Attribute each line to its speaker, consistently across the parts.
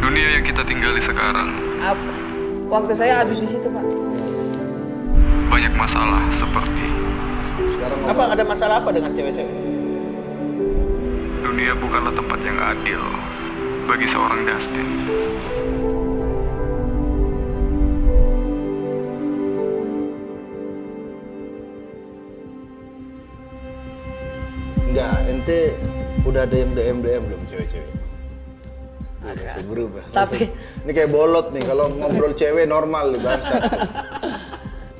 Speaker 1: Dunia yang kita tinggali sekarang
Speaker 2: Ap- waktu saya habis di situ pak
Speaker 1: banyak masalah seperti
Speaker 3: Sekarang
Speaker 4: Apa ada masalah apa dengan cewek-cewek?
Speaker 1: dunia bukanlah tempat yang adil bagi seorang Dustin.
Speaker 3: enggak, ente udah DM DM DM belum cewek-cewek? Udah langsung berubah.
Speaker 2: Tapi-
Speaker 3: Langsung. ini kayak bolot nih kalau ngobrol cewek normal nih bangsa.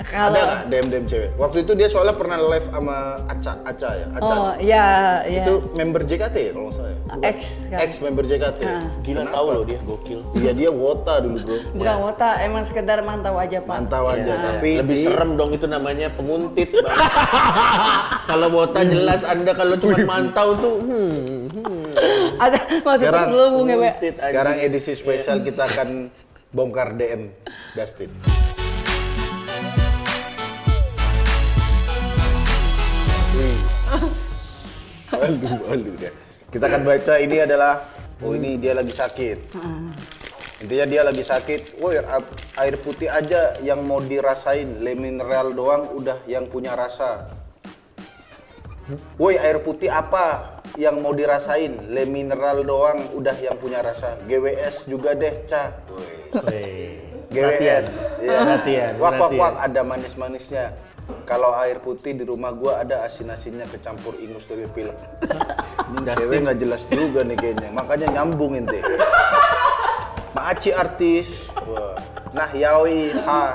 Speaker 3: Ada
Speaker 2: kalau
Speaker 3: nggak DM DM cewek? Waktu itu dia soalnya pernah live sama Aca, Aca ya, Aca.
Speaker 2: oh ya ya
Speaker 3: Itu member JKT ya kalau nggak salah. ya? Bukan.
Speaker 2: Ex, kan?
Speaker 3: iya. Ex member JKT.
Speaker 4: Gila
Speaker 3: Kenapa?
Speaker 4: tahu loh dia gokil.
Speaker 3: Iya dia wota dulu bro.
Speaker 2: bukan wota emang sekedar mantau aja pak
Speaker 3: Mantau aja tapi
Speaker 4: Lebih
Speaker 3: di-
Speaker 4: serem dong itu namanya penguntit. Bang. kalau wota jelas Anda kalau cuma mantau tuh hmm,
Speaker 2: ada maksudnya
Speaker 3: Sekarang-
Speaker 2: selubung ya pak
Speaker 4: penguntit aja.
Speaker 3: Sekarang edisi spesial kita akan bongkar DM Dustin. Wih. Aduh, aduh deh. Kita akan baca ini adalah oh ini dia lagi sakit. Intinya dia lagi sakit. Woi, ap- air putih aja yang mau dirasain, le mineral doang udah yang punya rasa. Woi air putih apa yang mau dirasain? Le mineral doang udah yang punya rasa. GWS juga deh, Ca.
Speaker 4: Perhatian.
Speaker 3: GWS. Iya.
Speaker 4: Perhatian,
Speaker 3: Wak wak wak
Speaker 4: perhatian.
Speaker 3: ada manis-manisnya. Kalau air putih di rumah gua ada asin-asinnya kecampur ingus dari pilek. Ini Cewek nggak jelas juga nih kayaknya. Makanya nyambung ente. Maaci artis. Wah. Nah yaoi ha.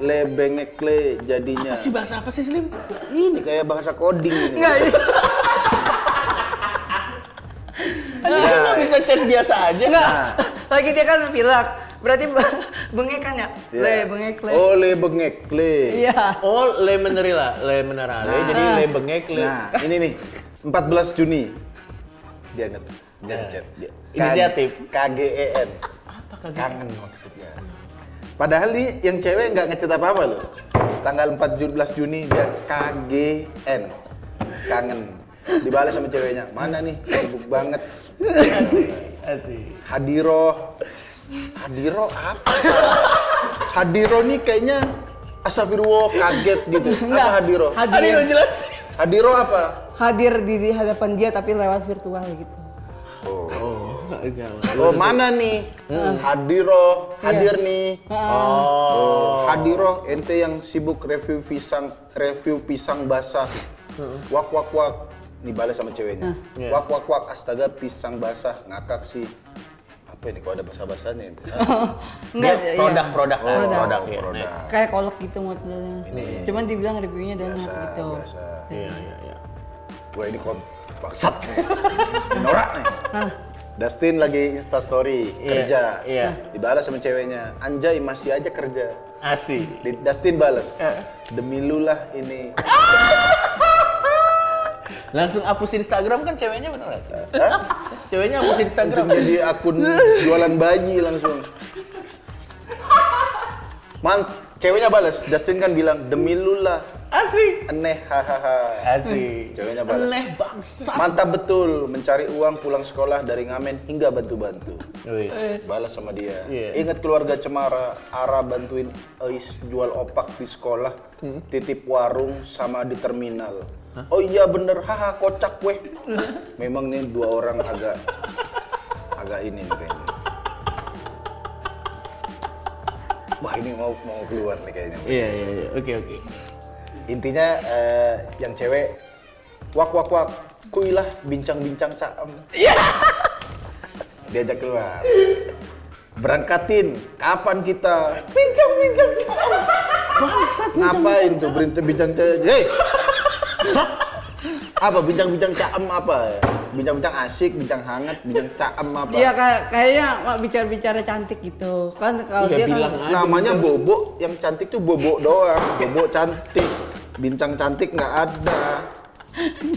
Speaker 3: Le bengek le jadinya.
Speaker 4: Apa sih bahasa apa sih Slim?
Speaker 3: Ini kayak bahasa coding. ini.
Speaker 2: iya.
Speaker 3: Ya.
Speaker 4: Anda kan
Speaker 3: Iya.
Speaker 4: nggak bisa chat biasa aja.
Speaker 2: enggak lagi dia kan pilek berarti bengek kan ya
Speaker 3: Iya.
Speaker 2: le bengek le
Speaker 3: Oh, le bengek, le.
Speaker 2: iya
Speaker 4: Oh, le menerila, le menerale,
Speaker 3: Nah.
Speaker 4: jadi le bengek, le.
Speaker 3: Nah, ini nih, 14 Juni. Dia nge dia ngechat. Dia- K-
Speaker 4: Inisiatif.
Speaker 3: KGEN. Apa Kangen maksudnya. Padahal nih yang cewek nggak ngechat apa-apa loh. Tanggal 14 Juni dia KGN. Kangen. Dibalas sama ceweknya. Mana nih? Sibuk banget. Hadiro. Hadiro apa? Hadiro nih kayaknya Astagfirullah kaget gitu. Apa Hadiro?
Speaker 4: Tadi lo
Speaker 2: hadir
Speaker 4: jelasin.
Speaker 3: Hadiro apa?
Speaker 2: hadir di, di hadapan dia tapi lewat virtual gitu
Speaker 3: Oh mana nih?
Speaker 2: Hmm.
Speaker 3: Hadiro,
Speaker 2: Iya.
Speaker 3: hadir nih. Oh. Hadiro, ente yang sibuk review pisang, review pisang basah.
Speaker 2: Hmm.
Speaker 3: Wak wak wak, dibalas sama ceweknya.
Speaker 4: Iya.
Speaker 3: Wak wak wak, astaga pisang basah ngakak sih. Apa ini? Kok ada bahasa basahnya? Ente?
Speaker 2: enggak ya, iya.
Speaker 4: Produk-produk kan,
Speaker 3: Oh,
Speaker 4: produk ya.
Speaker 3: produk.
Speaker 4: Nek.
Speaker 2: kayak kolak gitu modelnya cuman dibilang reviewnya dan
Speaker 3: Biasa,
Speaker 2: gitu
Speaker 3: biasa.
Speaker 4: Iya, iya, iya.
Speaker 3: Wah ini kon bangsat nih. Ini Norak nih.
Speaker 2: Hah.
Speaker 3: Dustin lagi instastory
Speaker 4: Iya,
Speaker 3: kerja.
Speaker 4: iya.
Speaker 3: Dibalas sama ceweknya. Anjay masih aja kerja.
Speaker 4: Asik.
Speaker 3: Di- Dustin balas.
Speaker 4: Eh.
Speaker 3: Demi lu lah ini.
Speaker 4: Langsung hapus Instagram kan ceweknya bener gak sih? ceweknya hapus Instagram.
Speaker 3: Langsung jadi akun jualan bayi langsung. Man, ceweknya balas. Dustin kan bilang demi lu lah.
Speaker 4: Asik.
Speaker 3: Aneh hahaha.
Speaker 4: Asik.
Speaker 3: Ceweknya balas.
Speaker 4: Aneh bangsa.
Speaker 3: Mantap betul mencari uang pulang sekolah dari ngamen hingga bantu-bantu. Balas sama dia.
Speaker 4: Iya.
Speaker 3: Ingat keluarga Cemara, Ara bantuin Ais jual opak di sekolah, titip warung sama di terminal. Oh iya bener, haha kocak weh. Memang nih dua orang agak agak ini nih kayaknya. Wah ini mau mau keluar nih kayaknya.
Speaker 4: Iya, iya, iya. Oke, oke.
Speaker 3: Intinya eh, yang cewek wak wak wak kuilah bincang-bincang saem. Diajak keluar. Berangkatin, kapan kita?
Speaker 4: Bincang-bincang. Bangsat.
Speaker 3: Ngapain tuh berintah bincang cewek? Hei! Sat! Apa bincang-bincang caem apa? Bincang-bincang asik, bincang hangat, bincang caem apa?
Speaker 2: Iya kayak kayaknya mak, bicara-bicara cantik gitu. Kan kalau
Speaker 4: Iya,
Speaker 2: dia
Speaker 4: bilang
Speaker 2: kan
Speaker 4: aja.
Speaker 3: Namanya bobo, yang cantik tuh bobo doang. Bobo cantik, bincang cantik nggak ada.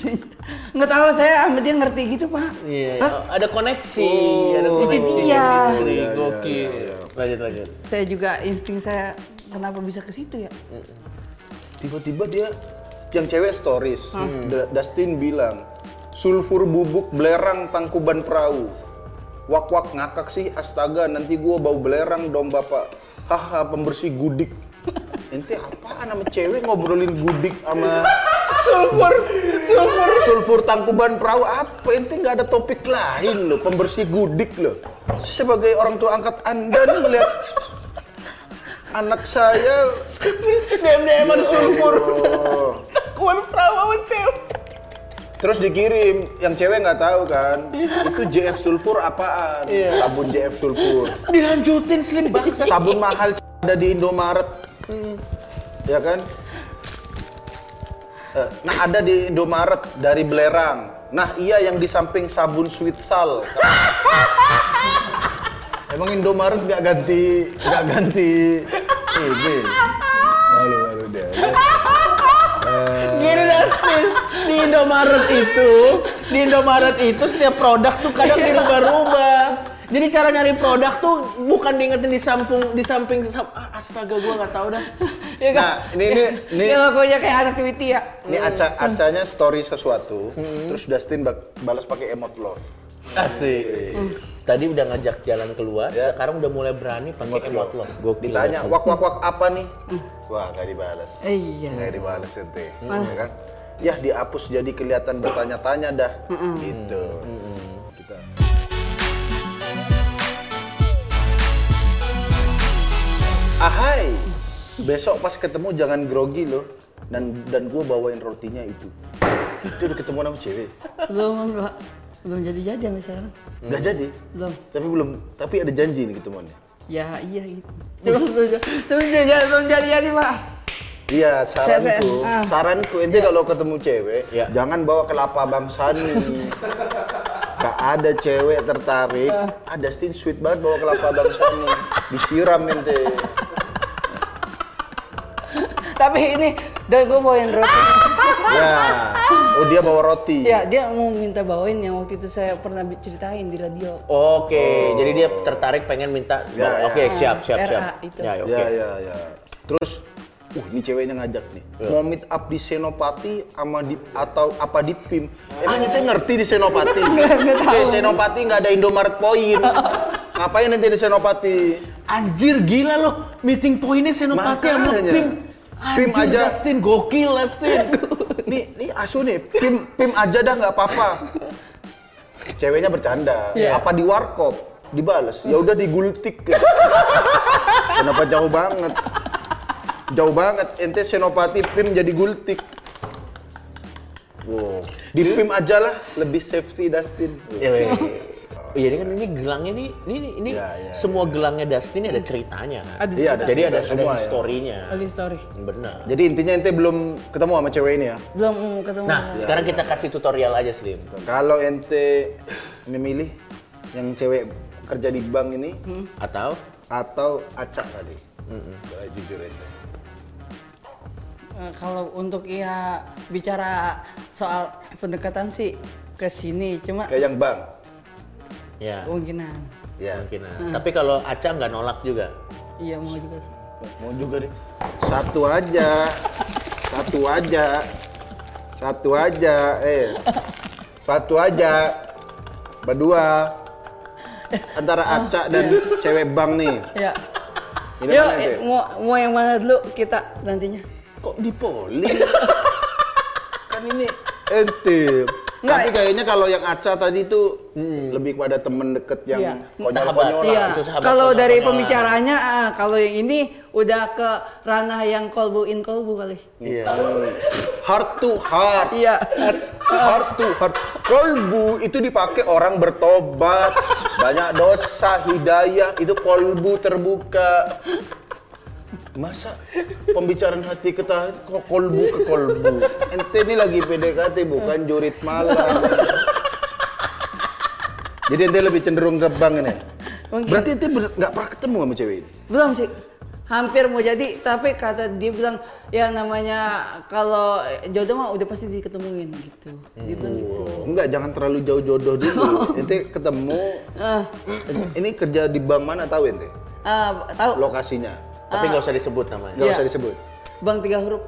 Speaker 2: nggak tahu saya sama dia ngerti gitu, Pak.
Speaker 4: Iya, ada koneksi,
Speaker 3: Oh,
Speaker 4: ada
Speaker 3: itu
Speaker 4: koneksi.
Speaker 2: dia.
Speaker 4: Istri,
Speaker 3: Iya, iya,
Speaker 4: gokil.
Speaker 3: iya, iya.
Speaker 4: Lanjut, lanjut.
Speaker 2: Saya juga insting saya kenapa bisa ke situ ya?
Speaker 3: tiba-tiba dia yang cewek stories Hmm. Da- Dustin bilang sulfur bubuk belerang tangkuban perahu wak wak ngakak sih astaga nanti gua bau belerang dong bapak haha pembersih gudik ente apaan sama cewek ngobrolin gudik sama
Speaker 4: sulfur sulfur
Speaker 3: sulfur tangkuban perahu apa ente nggak ada topik lain loh pembersih gudik loh sebagai orang tua angkat anda nih melihat anak saya
Speaker 4: dem deman sulfur
Speaker 3: oh.
Speaker 4: kuan perahu sama cewek
Speaker 3: terus dikirim yang cewek nggak tahu kan
Speaker 4: Iya.
Speaker 3: itu JF sulfur apaan sabun JF sulfur
Speaker 4: dilanjutin slim bangsa
Speaker 3: sabun mahal c- ada di Indomaret
Speaker 4: Hmm.
Speaker 3: ya kan Eh, nah ada di Indomaret dari belerang nah iya yang di samping sabun sweet sal emang Indomaret nggak ganti nggak ganti ini malu malu dia
Speaker 4: Gini Dustin, di Indomaret itu, di Indomaret itu setiap produk tuh kadang dirubah-rubah. Jadi cara nyari produk tuh bukan diingetin di samping di samping sam- ah, astaga gua nggak tahu dah.
Speaker 2: Ya kan?
Speaker 3: nah ini ini ini
Speaker 2: Yang
Speaker 4: Ya.
Speaker 2: lakunya Ya, kayak anak Twitty ya.
Speaker 3: ini aca acanya story sesuatu
Speaker 4: Hmm.
Speaker 3: terus Dustin bak- balas pakai emot love
Speaker 4: Asik. Tadi udah ngajak jalan keluar,
Speaker 3: Hmm. Ya.
Speaker 4: sekarang udah mulai berani pakai emot lo. Gokil. Hmm.
Speaker 3: ditanya wak wak wak apa nih wah nggak dibalas
Speaker 4: Eh.
Speaker 2: Iya.
Speaker 3: nggak dibalas ente ya kan ya dihapus jadi kelihatan bertanya-tanya dah gitu kita ahai besok pas ketemu jangan grogi loh dan dan gue bawain rotinya itu itu udah ketemu sama cewek
Speaker 2: Belum enggak. Belum jadi jajan misalnya.
Speaker 3: nggak Hmm. jadi
Speaker 2: Belum.
Speaker 3: tapi belum tapi ada janji nih ketemuannya
Speaker 2: Ya iya gitu. Cuma belum- belum jadi belum jadi jadi pak.
Speaker 3: Iya,
Speaker 2: Saya-
Speaker 3: saranku,
Speaker 2: saya- ah.
Speaker 3: saranku ente kalau ketemu cewek,
Speaker 4: Iya.
Speaker 3: jangan bawa kelapa bangsani. Gak ada cewek tertarik. Ah, Dustin sweet banget bawa kelapa bangsani. Disiram ente.
Speaker 2: Tapi ini dan gue bawain roti.
Speaker 3: Ya. Oh, dia bawa roti.
Speaker 2: ya dia mau minta bawain yang waktu itu saya pernah bi- ceritain di radio.
Speaker 4: Oke, jadi dia tertarik pengen minta.
Speaker 3: Oh. Ya, ya.
Speaker 4: Oke, siap, siap, siap.
Speaker 2: RA itu.
Speaker 4: Ya, oke.
Speaker 3: Ya, ya, ya. Terus, uh, ini ceweknya ngajak nih.
Speaker 4: Iya.
Speaker 3: Mau meet up di Senopati sama di atau apa di PIM.
Speaker 4: Ah.
Speaker 3: Emang ente ngerti di Senopati? Oke, Senopati nggak ada Indomaret Point. Ngapain ente di Senopati?
Speaker 4: Anjir gila loh, meeting pointnya Senopati sama
Speaker 3: Makanya.
Speaker 4: Pim.
Speaker 3: Pim
Speaker 4: Anjir,
Speaker 3: aja.
Speaker 4: Dustin, gokil Dustin.
Speaker 3: nih nih asu nih pim pim aja dah nggak apa-apa ceweknya bercanda
Speaker 4: Iya.
Speaker 3: apa di warkop dibales ya udah digultik kenapa jauh banget jauh banget ente senopati pim jadi gultik wow di pim aja lah lebih safety Dustin
Speaker 4: Iya, Oh, Jadi kan ini gelangnya nih, ini ini, ini
Speaker 3: Ya, ya,
Speaker 4: semua gelangnya Dustin ini ada ceritanya kan.
Speaker 2: Ada
Speaker 3: Iya, ada
Speaker 4: Jadi
Speaker 3: cerita
Speaker 4: ada ada
Speaker 3: semua ya.
Speaker 4: historinya.
Speaker 2: Early story.
Speaker 4: Benar.
Speaker 3: jadi intinya ente belum ketemu sama cewek ini ya
Speaker 2: Belum mm, ketemu.
Speaker 4: Nah, sekarang kita kasih tutorial aja Slim.
Speaker 3: kalau ente memilih yang cewek kerja di bank ini
Speaker 4: Atau
Speaker 3: atau acak tadi Boleh jujur ente
Speaker 2: Eh, kalau untuk ya bicara soal pendekatan sih ke sini cuma
Speaker 3: kayak yang bang
Speaker 4: ya
Speaker 2: kemungkinan
Speaker 3: ya
Speaker 4: mungkin. nah. Tapi kalau Aca nggak nolak juga.
Speaker 2: iya mau juga
Speaker 3: mau juga deh satu aja satu aja satu aja eh satu aja berdua antara acak dan cewek bang nih
Speaker 2: ya
Speaker 3: Ini
Speaker 2: yuk
Speaker 3: mana,
Speaker 2: eh,
Speaker 3: Dek?
Speaker 2: mau mau yang mana dulu kita nantinya
Speaker 3: kok di polling kan ini ente
Speaker 2: Nggak.
Speaker 3: tapi kayaknya kalau yang acak tadi tuh lebih kepada temen deket yang
Speaker 2: Iya.
Speaker 3: konyol-konyolan
Speaker 4: Sahabat.
Speaker 2: iya
Speaker 4: itu sahabat
Speaker 2: kalau
Speaker 4: konyol-konyolan.
Speaker 2: dari pembicaraannya ah, kalau yang ini udah ke ranah yang kolbu in kolbu kali
Speaker 3: Iya. Heart to heart.
Speaker 2: iya
Speaker 3: Heart to heart. Kolbu itu dipakai orang bertobat. Banyak dosa, hidayah. Itu kolbu terbuka. Masa pembicaraan hati kita kok kolbu ke kolbu? Ente ini lagi PDKT bukan jurit malam. Jadi ente lebih cenderung ke bank ini.
Speaker 2: Mungkin.
Speaker 3: Berarti ente bener- nggak pernah ketemu sama cewek ini?
Speaker 2: belum sih hampir mau jadi tapi kata dia bilang ya namanya kalau jodoh mah udah pasti diketemuin gitu dia bilang gitu
Speaker 3: Enggak, Oh. jangan terlalu jauh jodoh dulu. ente ketemu,
Speaker 2: Ah,
Speaker 3: ini kerja di bank mana tahu ente?
Speaker 2: ah, tahu
Speaker 3: Lokasinya.
Speaker 4: Tapi nggak usah disebut namanya.
Speaker 3: Ah. Nggak
Speaker 2: Iya.
Speaker 3: usah disebut.
Speaker 2: Bang tiga huruf.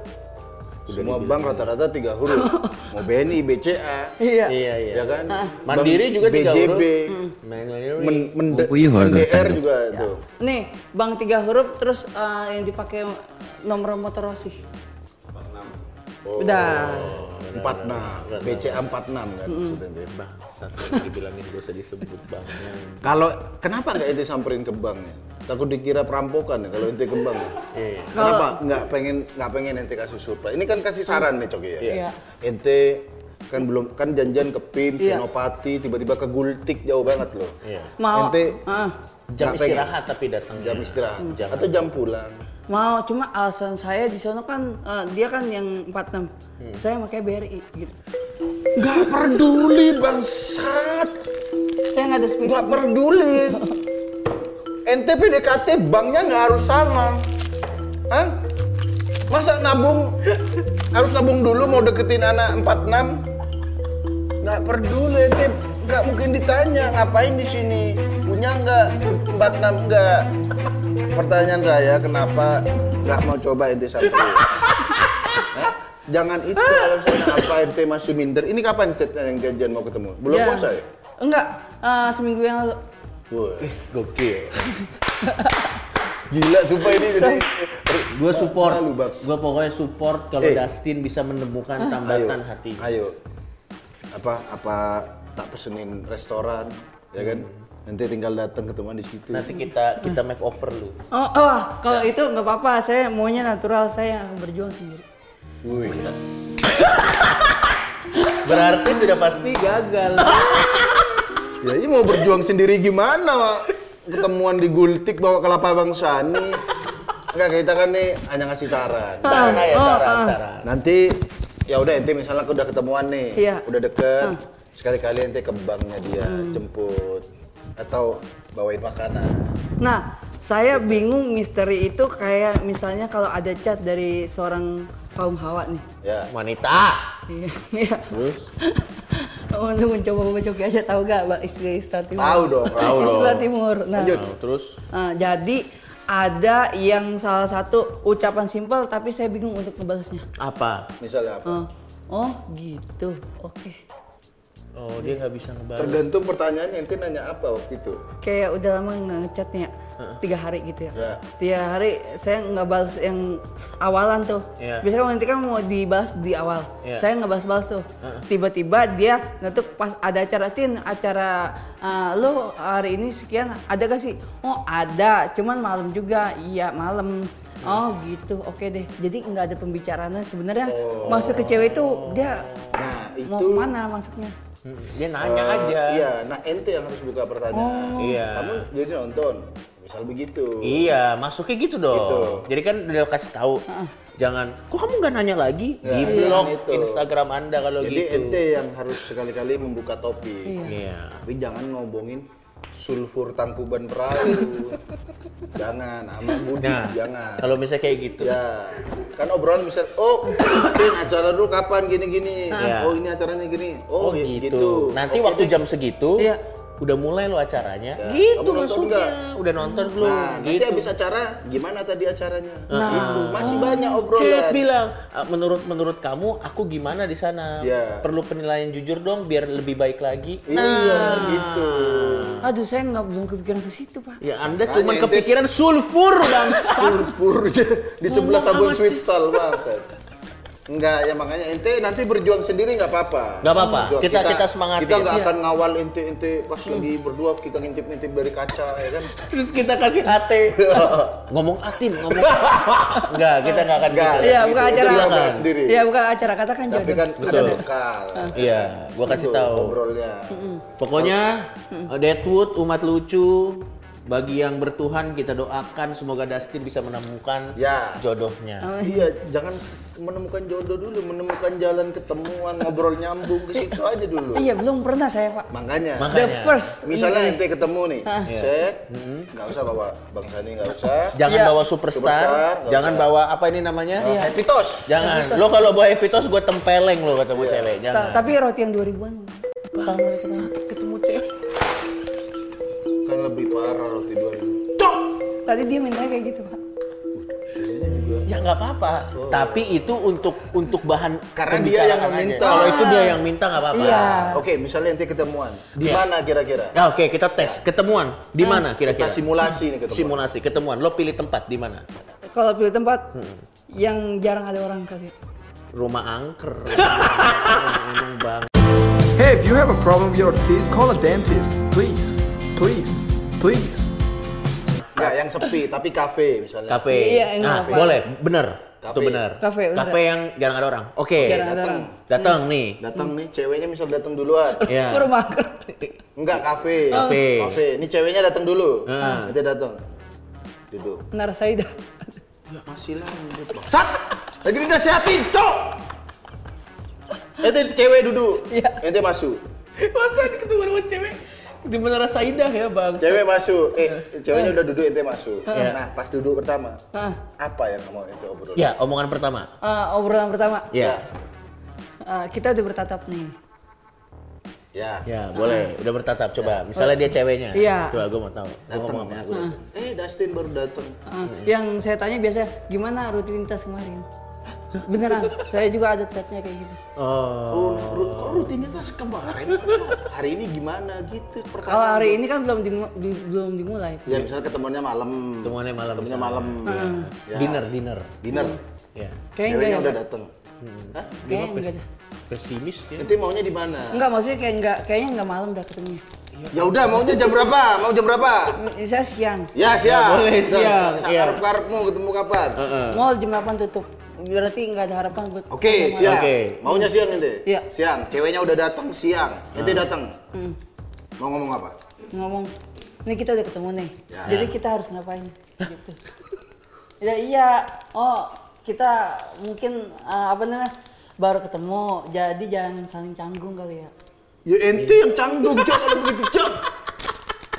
Speaker 3: Semua bank rata-rata tiga huruf. Mau BNI, BCA,
Speaker 2: Iya.
Speaker 4: Iya, iya.
Speaker 3: ya kan?
Speaker 4: Mandiri
Speaker 3: Bank
Speaker 4: juga tiga
Speaker 3: BJB,
Speaker 4: huruf. Ya,
Speaker 3: Men,
Speaker 4: Mandiri.
Speaker 3: men,
Speaker 5: Puyuh, aduh,
Speaker 3: MDR
Speaker 5: tanda.
Speaker 3: juga itu.
Speaker 2: Nih, bank tiga huruf terus eh, yang dipakai nomor motor Rossi.
Speaker 3: Oh.
Speaker 2: Udah.
Speaker 3: 46, BCA 46 kan maksudnya. itu.
Speaker 4: Bangsat, yang dibilangin gak usah disebut banknya.
Speaker 3: Kalau kenapa nggak ente samperin ke bank ya? Takut dikira perampokan ya kalau ente ke bank. ya?
Speaker 4: Iya.
Speaker 3: Kenapa nggak pengen nggak pengen ente kasih surprise? Ini kan kasih saran nih Coki ya.
Speaker 2: Iya.
Speaker 3: Ente kan belum kan janjian ke PIM,
Speaker 2: Iya.
Speaker 3: Senopati, tiba-tiba ke Gultik jauh banget loh.
Speaker 4: Iya.
Speaker 2: Mau.
Speaker 3: Ente
Speaker 2: Ah.
Speaker 4: Jam
Speaker 3: nggak pengen.
Speaker 4: istirahat tapi datang. Iya.
Speaker 3: jam istirahat
Speaker 4: Jangan.
Speaker 3: atau jam pulang.
Speaker 2: Mau, cuma alasan saya di sono kan eh, dia kan yang 46.
Speaker 3: Hmm.
Speaker 2: Saya pakai BRI gitu.
Speaker 3: Nggak peduli bangsat,
Speaker 2: Saya nggak ada spesial.
Speaker 3: nggak peduli. Ente PDKT banknya nggak harus sama, Hah? Masa nabung harus nabung dulu mau deketin anak 46? Nggak peduli ente, nggak mungkin ditanya ngapain di sini, punya nggak 46 nggak. Pertanyaan saya kenapa nggak mau coba ente sampai? Jangan itu alasan apa ente masih minder. Ini kapan ente yang janjian mau ketemu? Belum
Speaker 2: Ya.
Speaker 3: puasa ya?
Speaker 2: Enggak, eh, seminggu yang lalu.
Speaker 3: Wah,
Speaker 4: Wis gokil.
Speaker 3: Gila sumpah ini jadi
Speaker 4: Gue support.
Speaker 3: Malu, Bang.
Speaker 4: Gue pokoknya support kalau
Speaker 3: Eh. Ah.
Speaker 4: Dustin bisa menemukan
Speaker 3: ayo,
Speaker 4: tambatan hati.
Speaker 3: ayo apa apa tak pesenin restoran ya kan nanti tinggal datang ketemuan di situ
Speaker 4: Nanti kita kita make over lu.
Speaker 3: Hmm.
Speaker 2: Oh, oh kalau
Speaker 3: Ya.
Speaker 2: itu nggak apa-apa. Saya maunya natural. Saya akan berjuang sendiri.
Speaker 3: Wih.
Speaker 4: Berarti sudah pasti gagal.
Speaker 3: Ah. ya ini mau berjuang sendiri gimana Wak? ketemuan di gultik bawa kelapa bang Sani enggak kita kan nih hanya ngasih saran
Speaker 4: Cara ya,
Speaker 2: Oh,
Speaker 4: cara,
Speaker 2: ah.
Speaker 4: cara.
Speaker 3: nanti ya udah ente misalnya udah ketemuan nih
Speaker 2: Iya.
Speaker 3: udah deket sekali-kali ente ke banknya dia jemput atau bawain makanan
Speaker 2: Nah, saya bingung misteri itu kayak misalnya kalau ada chat dari seorang kaum hawa nih.
Speaker 3: ya
Speaker 4: Wanita.
Speaker 2: Iya, Iya. Untuk mencoba membacoki aja tahu gak Mbak istri Star Timur?
Speaker 3: Tahu dong, tahu
Speaker 2: Istri
Speaker 3: dong.
Speaker 2: Star Timur. Nah,
Speaker 3: Lanjut.
Speaker 4: Nah, terus
Speaker 2: eh, jadi ada yang salah satu ucapan simpel tapi saya bingung untuk membalasnya.
Speaker 4: apa?
Speaker 3: misalnya apa
Speaker 2: Eh, oh gitu, oke.
Speaker 4: Oh dia nggak bisa ngebalas.
Speaker 3: tergantung pertanyaannya ente nanya apa waktu itu
Speaker 2: Kayak udah lama nggak ngechat nih ya, tiga hari gitu ya.
Speaker 3: Ya.
Speaker 2: Tiga hari saya nggak balas yang awalan tuh.
Speaker 4: Iya.
Speaker 2: Biasanya nanti kan mau dibalas di awal.
Speaker 4: Iya.
Speaker 2: Saya nggak balas-balas tuh. Tiba-tiba dia nanti pas ada acara tin acara eh, lo hari ini sekian ada gak sih? Oh ada, cuman malam juga. Iya malam. Oh gitu, oke deh. Jadi nggak ada pembicaraannya sebenarnya. Masuk ke cewek itu dia
Speaker 3: nah itu
Speaker 2: mau kemana masuknya?
Speaker 4: Mm, Dia nanya
Speaker 3: eh,
Speaker 4: aja.
Speaker 3: iya nah ente yang harus buka pertanyaan
Speaker 4: Iya.
Speaker 3: kamu jadi nonton misal begitu
Speaker 4: Iya, masuknya gitu dong. Jadi kan udah kasih tahu. Jangan, kok kamu nggak nanya lagi? di
Speaker 3: Iya,
Speaker 4: blog
Speaker 3: jangan itu.
Speaker 4: Instagram Anda kalau
Speaker 3: jadi
Speaker 4: gitu.
Speaker 3: ente yang harus sekali-kali membuka topik
Speaker 4: Iya.
Speaker 3: tapi jangan ngobongin sulfur tangkuban perahu jangan sama budi
Speaker 4: Nah,
Speaker 3: jangan
Speaker 4: kalau misalnya kayak gitu.
Speaker 3: ya kan obrolan misal oh Tin, acara lu kapan gini gini
Speaker 4: Iya.
Speaker 3: oh ini acaranya gini oh,
Speaker 4: Oh,
Speaker 3: i-
Speaker 4: gitu.
Speaker 3: gitu.
Speaker 4: Nanti
Speaker 3: Oke
Speaker 4: waktu
Speaker 3: deh.
Speaker 4: jam segitu
Speaker 2: Iya.
Speaker 4: udah mulai lo acaranya.
Speaker 3: Ya.
Speaker 4: Gitu
Speaker 3: Kamu nonton
Speaker 4: maksudnya.
Speaker 3: nggak?
Speaker 4: Udah nonton belum?
Speaker 3: nah nanti
Speaker 4: gitu.
Speaker 3: habis acara gimana tadi acaranya gitu masih banyak
Speaker 4: Chat
Speaker 3: obrolan
Speaker 4: bilang, "Ah, menurut menurut kamu aku gimana di sana?
Speaker 3: Iya.
Speaker 4: Perlu penilaian jujur dong biar lebih baik lagi.
Speaker 3: iya gitu
Speaker 2: Aduh saya nggak belum kepikiran ke situ pak.
Speaker 4: Ya Anda
Speaker 3: Makanya
Speaker 4: cuman
Speaker 3: ente-
Speaker 4: kepikiran sulfur bangsat.
Speaker 3: sulfur di sebelah sabun Switzal bangsat Enggak, ya makanya ente nanti berjuang sendiri nggak apa-apa.
Speaker 4: Nggak apa-apa,
Speaker 3: Berjuang.
Speaker 4: kita- kita semangatin.
Speaker 3: Kita nggak akan ngawal ente ente pas lagi berdua kita ngintip-ngintip dari kaca ya kan.
Speaker 4: Terus kita kasih HT. ngomong atin, ngomong. Enggak, kita nggak akan
Speaker 3: Nggak.
Speaker 4: gitu.
Speaker 2: Iya,
Speaker 3: Gitu,
Speaker 2: bukan
Speaker 3: itu
Speaker 2: acara.
Speaker 3: silakan sendiri.
Speaker 2: Iya, bukan acara, katakan
Speaker 3: Tapi
Speaker 2: jodoh.
Speaker 3: kan ada
Speaker 4: Betul.
Speaker 3: bekal.
Speaker 4: Iya, gua kasih
Speaker 3: Gitu,
Speaker 4: tahu.
Speaker 3: Obrolnya.
Speaker 4: Pokoknya uh, Deadwood umat lucu bagi yang bertuhan kita doakan semoga Dustin bisa menemukan
Speaker 3: Ya.
Speaker 4: jodohnya.
Speaker 3: Iya, jangan menemukan jodoh dulu, menemukan jalan ketemuan, ngobrol nyambung ke situ aja dulu.
Speaker 2: Iya, belum pernah saya, Pak.
Speaker 3: Makanya.
Speaker 4: Makanya.
Speaker 2: The first.
Speaker 3: Misalnya ente ketemu nih,
Speaker 4: Iya.
Speaker 3: set,
Speaker 4: Hmm.
Speaker 3: nggak usah bawa Bang Sani, nggak usah.
Speaker 4: Jangan
Speaker 2: Iya.
Speaker 4: bawa superstar,
Speaker 3: Superstar, nggak
Speaker 4: jangan
Speaker 3: usah.
Speaker 4: bawa apa ini namanya?
Speaker 3: Oh, Happy Toast.
Speaker 4: Jangan. Lo kalau bawa epitos gue tempeleng lo ketemu
Speaker 3: Iya.
Speaker 4: cewek. Jangan.
Speaker 2: Ta- tapi roti yang 2000-an.
Speaker 4: ketemu cewek.
Speaker 3: Kan lebih parah roti dua ribu.
Speaker 2: Tadi dia mintanya kayak gitu, Pak.
Speaker 3: Kayaknya juga.
Speaker 4: Ya nggak apa-apa. Tapi itu untuk untuk bahan
Speaker 3: Oh. Karena dia
Speaker 4: pembicaraan
Speaker 3: yang
Speaker 4: aja.
Speaker 3: meminta.
Speaker 4: Kalau itu dia yang minta nggak apa-apa.
Speaker 2: Iya.
Speaker 3: Oke, misalnya nanti ketemuan. Di
Speaker 4: Ah. Iya.
Speaker 3: mana kira-kira?
Speaker 4: Nah, oke kita tes ketemuan
Speaker 2: Ah.
Speaker 4: di mana
Speaker 3: Kita
Speaker 4: kira-kira?
Speaker 3: simulasi nih ketemuan.
Speaker 4: Simulasi ketemuan. Lo pilih tempat di mana?
Speaker 2: Kalau pilih tempat yang jarang ada orang kali. ya.
Speaker 4: Rumah angker. Emang bang.
Speaker 5: Hey, if you have a problem with your teeth, call a dentist. Please, please, please.
Speaker 3: Nggak, yang sepi tapi kafe misalnya.
Speaker 4: Kafe.
Speaker 2: Iya, yang
Speaker 4: Nah,
Speaker 2: apa?
Speaker 4: boleh, bener. Itu
Speaker 3: Kafe.
Speaker 4: bener.
Speaker 2: Kafe, bener.
Speaker 4: Kafe yang jarang ada orang. Oke.
Speaker 2: Jarang ada
Speaker 3: datang.
Speaker 2: orang.
Speaker 4: Datang nih.
Speaker 3: Datang nih, ceweknya misal datang duluan.
Speaker 4: Ya.
Speaker 2: Hmm. Ke rumah angker.
Speaker 3: Enggak, kafe.
Speaker 4: Kafe.
Speaker 3: Kafe. Ini ceweknya datang dulu.
Speaker 4: Ah.
Speaker 3: Nanti datang. Duduk.
Speaker 2: Narasaida.
Speaker 3: Masih lanjut, Bang. Sat! Lagi dinasehatin, cok! Ente cewek duduk.
Speaker 2: Iya.
Speaker 3: Ente masuk.
Speaker 4: Masa ketemu sama cewek di Menara Saidah ya bang?
Speaker 3: Cewek masuk. Eh, ceweknya udah duduk, ente masuk.
Speaker 2: Eh.
Speaker 4: Iya.
Speaker 3: Nah, pas duduk pertama,
Speaker 2: Ah.
Speaker 3: apa yang mau ente obrol?
Speaker 4: Ya, omongan pertama.
Speaker 2: Eh, obrolan pertama.
Speaker 3: Iya.
Speaker 4: Ya,
Speaker 2: Eh, kita udah bertatap nih.
Speaker 3: Ya.
Speaker 4: ya boleh. Udah bertatap. Coba, misalnya dia ceweknya.
Speaker 2: Ah. Ya. Iya.
Speaker 4: Coba gue mau tahu. Gua ngomong
Speaker 3: Datang
Speaker 4: apa?
Speaker 3: nih Ah, aku datang.
Speaker 2: Ah.
Speaker 3: Eh, Dustin baru datang.
Speaker 2: Eh, Yang saya tanya biasa gimana rutinitas kemarin? Beneran, saya juga ada chatnya kayak gitu.
Speaker 3: Oh,
Speaker 4: Oh.
Speaker 3: ru- kok rutinitas kemarin? Hari ini gimana gitu?
Speaker 2: Kalau
Speaker 3: Pertama.
Speaker 2: hari ini kan belum dimu- di- belum dimulai.
Speaker 3: Ya, misalnya ketemuannya malam.
Speaker 4: Ketemuannya malam. Ah.
Speaker 3: Ketemuannya malam. Ya.
Speaker 4: Dinner, dinner.
Speaker 3: Dinner.
Speaker 4: Ya.
Speaker 2: Ah. Kayaknya
Speaker 3: Ceweknya
Speaker 2: enggak
Speaker 3: udah
Speaker 2: ada.
Speaker 3: datang.
Speaker 4: Hmm.
Speaker 3: Hah?
Speaker 2: Kayaknya enggak ada.
Speaker 4: Pesimis ya.
Speaker 3: Ente maunya di mana?
Speaker 2: Enggak, maksudnya kayak enggak kayaknya enggak malam dah ketemunya.
Speaker 3: Ya udah, maunya jam berapa? Mau jam berapa?
Speaker 2: Eh, Saya siang.
Speaker 3: Ya, siang.
Speaker 4: boleh, siang. Ah. Iya.
Speaker 3: Karep mau ketemu kapan?
Speaker 2: Mall jam 8 tutup. Berarti nggak ada harapan buat
Speaker 3: Oke, siang.
Speaker 4: Oke.
Speaker 3: Maunya siang ente?
Speaker 2: Iya.
Speaker 3: Siang. Ceweknya udah datang siang. Ente datang.
Speaker 2: Hmm.
Speaker 3: Mau ngomong apa?
Speaker 2: ngomong. Ini kita udah ketemu nih.
Speaker 3: Ya.
Speaker 2: Jadi kita harus ngapain? gitu. Ya iya. Oh, kita mungkin eh, apa namanya? baru ketemu. Jadi jangan saling canggung kali ya.
Speaker 3: Ya ente yang canggung, Cok, kalau begitu, Cok.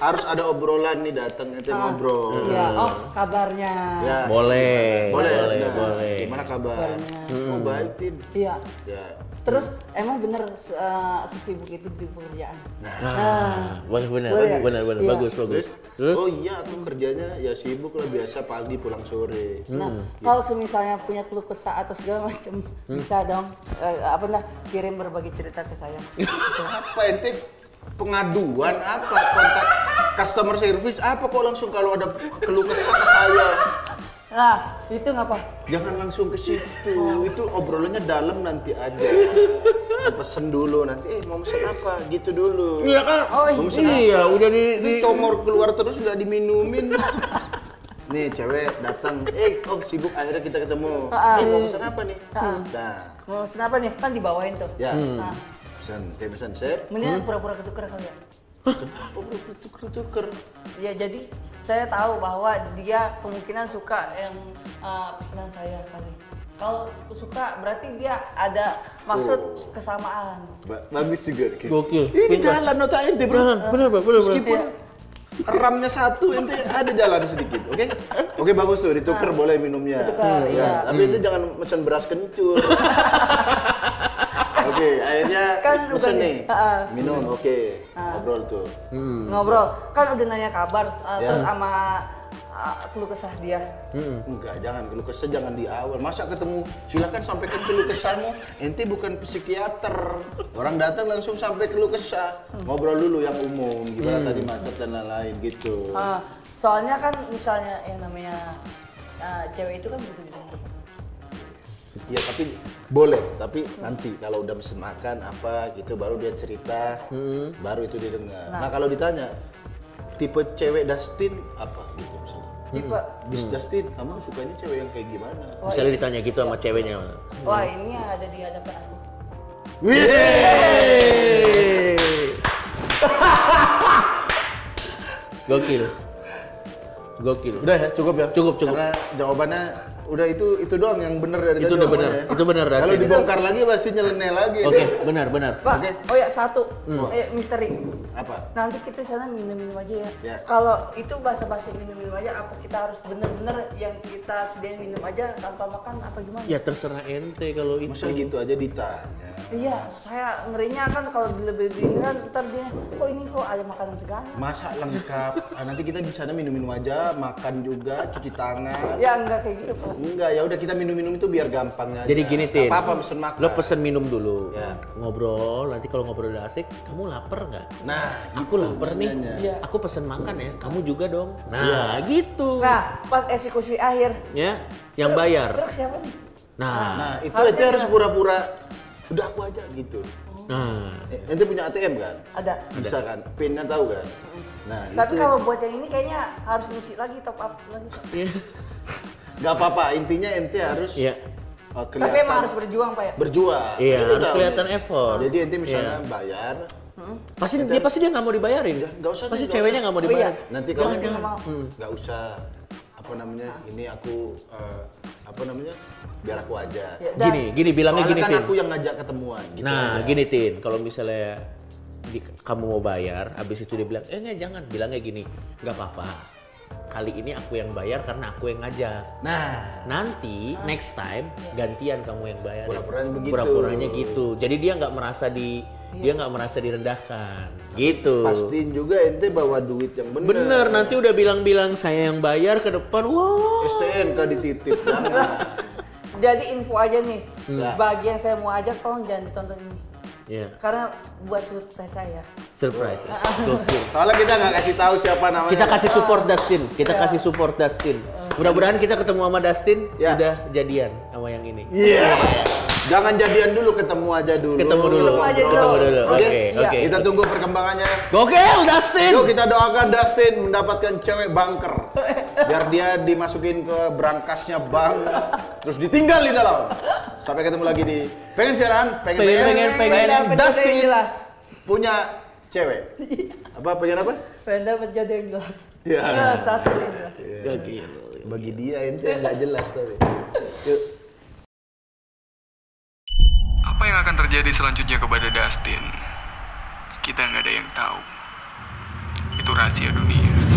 Speaker 3: Harus ada obrolan nih datang ente ngobrol.
Speaker 2: Iya. Oh, kabarnya.
Speaker 3: Ya.
Speaker 4: Boleh,
Speaker 3: Boleh,
Speaker 4: boleh,
Speaker 3: nah,
Speaker 4: boleh.
Speaker 3: Gimana kabar? Oh, baik, Tin.
Speaker 2: Iya.
Speaker 3: Ya.
Speaker 2: Terus emang bener eh, sesibuk itu di pekerjaan.
Speaker 4: Nah, boleh benar,
Speaker 2: Boleh.
Speaker 4: benar, benar,
Speaker 2: Iya.
Speaker 4: bagus, bagus.
Speaker 3: Terus?
Speaker 4: Terus?
Speaker 3: Oh iya, aku kerjanya ya sibuk lah biasa pagi pulang sore.
Speaker 2: Nah,
Speaker 4: hmm, iya.
Speaker 2: kalau semisalnya punya keluh kesah atau segala macam, bisa dong eh, apa nah, kirim berbagi cerita ke saya.
Speaker 4: Iya.
Speaker 3: apa ente pengaduan apa kontak customer service apa kok langsung kalau ada keluh kesah ke saya
Speaker 2: Nah, itu ngapa?
Speaker 3: jangan langsung ke situ
Speaker 4: Oh.
Speaker 3: itu obrolannya dalam nanti aja pesen dulu nanti eh mau pesen apa gitu dulu
Speaker 4: Iya kan?
Speaker 2: Oh,
Speaker 4: iya, udah di, di...
Speaker 3: ini comor keluar terus udah diminumin nih cewek datang eh oh sibuk akhirnya kita ketemu
Speaker 4: Ah,
Speaker 3: eh mau pesen apa nih nah
Speaker 2: Mau pesen apa nih? Kan dibawain tuh.
Speaker 3: ya
Speaker 4: Iya. Hmm.
Speaker 2: Nah,
Speaker 3: pesan dia pesan set
Speaker 2: mendingan pura-pura ketuker kali ya.
Speaker 3: oh tuker tuker
Speaker 2: Ya jadi saya tahu bahwa dia kemungkinan suka yang uh, pesanan saya kali. Kalau suka berarti dia ada maksud
Speaker 4: Oh.
Speaker 2: kesamaan.
Speaker 3: Ba- bagus juga Ki.
Speaker 4: Gokil.
Speaker 3: Ini
Speaker 4: Pinter.
Speaker 3: jalan nota ente bro.
Speaker 4: Benar, benar, benar, benar.
Speaker 3: Meskipun ramnya satu ente ada jalan sedikit, oke? Oke bagus tuh ditukar boleh minumnya.
Speaker 2: Ditukar,
Speaker 3: Ya,
Speaker 2: Ah. iya.
Speaker 3: Tapi ente jangan mesen beras kencur. Oke, akhirnya
Speaker 2: Kan
Speaker 3: mesen
Speaker 2: bukan-
Speaker 3: nih.
Speaker 2: Heeh.
Speaker 3: Minum, oke.
Speaker 2: Ah.
Speaker 3: Ngobrol tuh.
Speaker 2: Ngobrol, kan udah nanya kabar uh,
Speaker 3: Ya.
Speaker 2: terus sama uh, keluh kesah dia.
Speaker 3: Enggak, jangan keluh kesah, jangan di awal. Masa ketemu, silakan sampaikan keluh kesahmu. Ente bukan psikiater. Orang datang langsung sampai keluh kesah. Ngobrol dulu yang umum, gimana tadi macet dan lain-lain gitu.
Speaker 2: Uh, soalnya kan misalnya yang namanya uh, cewek itu kan butuh didengar.
Speaker 3: Iya tapi boleh, tapi nanti kalau udah pesen makan apa gitu baru dia cerita, baru itu didengar. Nah, kalau ditanya tipe cewek Dustin apa gitu misalnya.
Speaker 2: Tipe,
Speaker 3: Miss Dustin, kamu sukanya cewek yang kayak gimana?
Speaker 2: wah,
Speaker 4: Misalnya ditanya gitu sama ceweknya.
Speaker 2: wah ini ada di hadapan aku.
Speaker 4: Gokil. Gokil.
Speaker 3: Udah ya, cukup ya.
Speaker 4: Cukup, cukup.
Speaker 3: Karena jawabannya udah itu itu doang yang bener dari
Speaker 4: Itu
Speaker 3: tadi
Speaker 4: udah bener,
Speaker 3: omongannya.
Speaker 4: itu bener,
Speaker 3: Kalau
Speaker 4: Dustin.
Speaker 3: dibongkar lagi pasti nyeleneh lagi.
Speaker 4: Oke, benar, benar.
Speaker 2: Pak,
Speaker 3: Oke.
Speaker 2: oh ya satu, eh, misteri.
Speaker 3: Apa?
Speaker 2: Nanti kita sana minum-minum aja ya.
Speaker 3: Ya.
Speaker 2: Kalau itu bahasa-bahasa minum-minum aja, apa kita harus bener-bener yang kita sediain minum aja tanpa makan apa gimana?
Speaker 4: Ya terserah ente kalau itu.
Speaker 3: Masa gitu aja ditanya.
Speaker 2: Iya, saya ngerinya kan kalau dilebih-lebihin kan ntar dia, kok ini kok ada makanan segala?
Speaker 3: Masak lengkap. Ah, nanti kita di sana minum-minum aja, makan juga, cuci tangan.
Speaker 2: Ya enggak kayak gitu kok.
Speaker 3: Enggak, ya udah kita minum-minum itu biar gampang aja.
Speaker 4: Jadi gini
Speaker 3: Nggak
Speaker 4: Tin,
Speaker 3: apa-apa pesen makan.
Speaker 4: lo pesen minum dulu,
Speaker 3: Ya.
Speaker 4: ngobrol. Nanti kalau ngobrol udah asik, kamu lapar nggak?
Speaker 3: Nah,
Speaker 4: Aku
Speaker 3: gitu
Speaker 4: lapar nih, Iya.
Speaker 3: nanyanya.
Speaker 4: aku pesen makan ya, kamu juga dong.
Speaker 3: Ya.
Speaker 4: Nah gitu,
Speaker 2: Nah, pas eksekusi akhir.
Speaker 4: ya yang bayar.
Speaker 2: Truk siapa nih?
Speaker 4: Nah,
Speaker 3: Nah, itu itu harus pura-pura udah aku aja gitu.
Speaker 4: nah,
Speaker 3: Eh, Ente punya ATM kan?
Speaker 2: Ada.
Speaker 4: Gitu
Speaker 3: Bisa kan? PIN-nya tahu kan? Nah,
Speaker 2: Tapi
Speaker 4: ya.
Speaker 3: itu
Speaker 2: kalau buat yang ini kayaknya harus ngisi lagi top up lagi.
Speaker 3: nggak apa-apa. Intinya ente harus
Speaker 4: Iya.
Speaker 3: uh,
Speaker 2: Tapi
Speaker 3: kelihatan
Speaker 2: emang harus berjuang Pak ya.
Speaker 3: berjuang.
Speaker 4: Iya,
Speaker 3: Itu
Speaker 4: harus
Speaker 3: tahu
Speaker 4: kelihatan
Speaker 3: nih.
Speaker 4: effort. Iya.
Speaker 3: Jadi ente misalnya bayar,
Speaker 2: Hmm.
Speaker 4: pasti dia pasti dia nggak mau dibayarin,
Speaker 3: Nggak- nggak usah,
Speaker 4: Pasti
Speaker 3: nggak
Speaker 4: ceweknya
Speaker 3: usah.
Speaker 4: nggak mau
Speaker 2: Oh, iya.
Speaker 4: dibayarin.
Speaker 3: nanti
Speaker 2: Jangan,
Speaker 3: kalau ente
Speaker 2: jangan mau.
Speaker 3: Hmm, nggak usah apa namanya? Ini aku uh, apa namanya? Biar aku aja.
Speaker 2: Ya, dan-
Speaker 4: Gini, gini bilangnya
Speaker 3: Soalnya
Speaker 4: gini
Speaker 3: kan
Speaker 4: Tin.
Speaker 3: aku yang ngajak ketemuan gitu
Speaker 4: nah,
Speaker 3: aja.
Speaker 4: gini Tin, kalau misalnya di- kamu mau bayar, habis itu dia bilang, eh nggak jangan, bilangnya gini, nggak apa-apa. Kali ini aku yang bayar karena aku yang ngajak.
Speaker 3: Nah,
Speaker 4: Nanti next time gantian kamu yang bayar.
Speaker 3: Iya. Pura-puranya begitu. Iya.
Speaker 4: Pura-puranya gitu. Jadi dia nggak merasa di dia nggak merasa direndahkan. Gitu.
Speaker 3: pastiin juga ente bawa duit yang bener.
Speaker 4: Bener, nah. nanti udah bilang-bilang saya yang bayar ke depan. Wah.
Speaker 3: STNK dititip jangan.
Speaker 2: Jadi info aja nih.
Speaker 3: Hmm.
Speaker 2: Bagi yang saya mau ajak tolong jangan ditonton ini.
Speaker 4: Iya,
Speaker 2: Karena buat surprise saya.
Speaker 4: surprise. Gokil.
Speaker 3: Soalnya kita nggak kasih tahu siapa namanya.
Speaker 4: Kita kasih support Dustin. Kita kasih support Dustin. Mudah-mudahan kita ketemu sama Dustin
Speaker 3: Ya.
Speaker 4: udah jadian sama yang ini.
Speaker 3: Iya. Jangan jadian dulu, ketemu aja dulu.
Speaker 4: Ketemu dulu.
Speaker 2: Ketemu aja
Speaker 4: Ketemu
Speaker 2: dulu.
Speaker 4: dulu.
Speaker 3: Oke,
Speaker 4: Oke,
Speaker 2: Iya.
Speaker 4: oke.
Speaker 3: Kita tunggu perkembangannya.
Speaker 4: Gokil Dustin.
Speaker 3: Yuk kita doakan Dustin mendapatkan cewek bunker. Biar dia dimasukin ke berangkasnya bank, terus ditinggal di dalam. Sampai ketemu lagi di pengen siaran, pengen
Speaker 4: Pengen, pengen, pengen.
Speaker 2: Pengen dapat
Speaker 3: Dustin
Speaker 2: jodoh yang jelas. Iya.
Speaker 3: punya cewek. Apa pengen apa?
Speaker 2: Pengen dapat jodoh yang jelas.
Speaker 3: Iya.
Speaker 2: Nah, status yang jelas.
Speaker 4: Gokil.
Speaker 3: Bagi dia ente nggak jelas tapi. Yuk.
Speaker 1: Apa yang akan terjadi selanjutnya kepada Dustin? Kita nggak ada yang tahu. Itu rahasia dunia.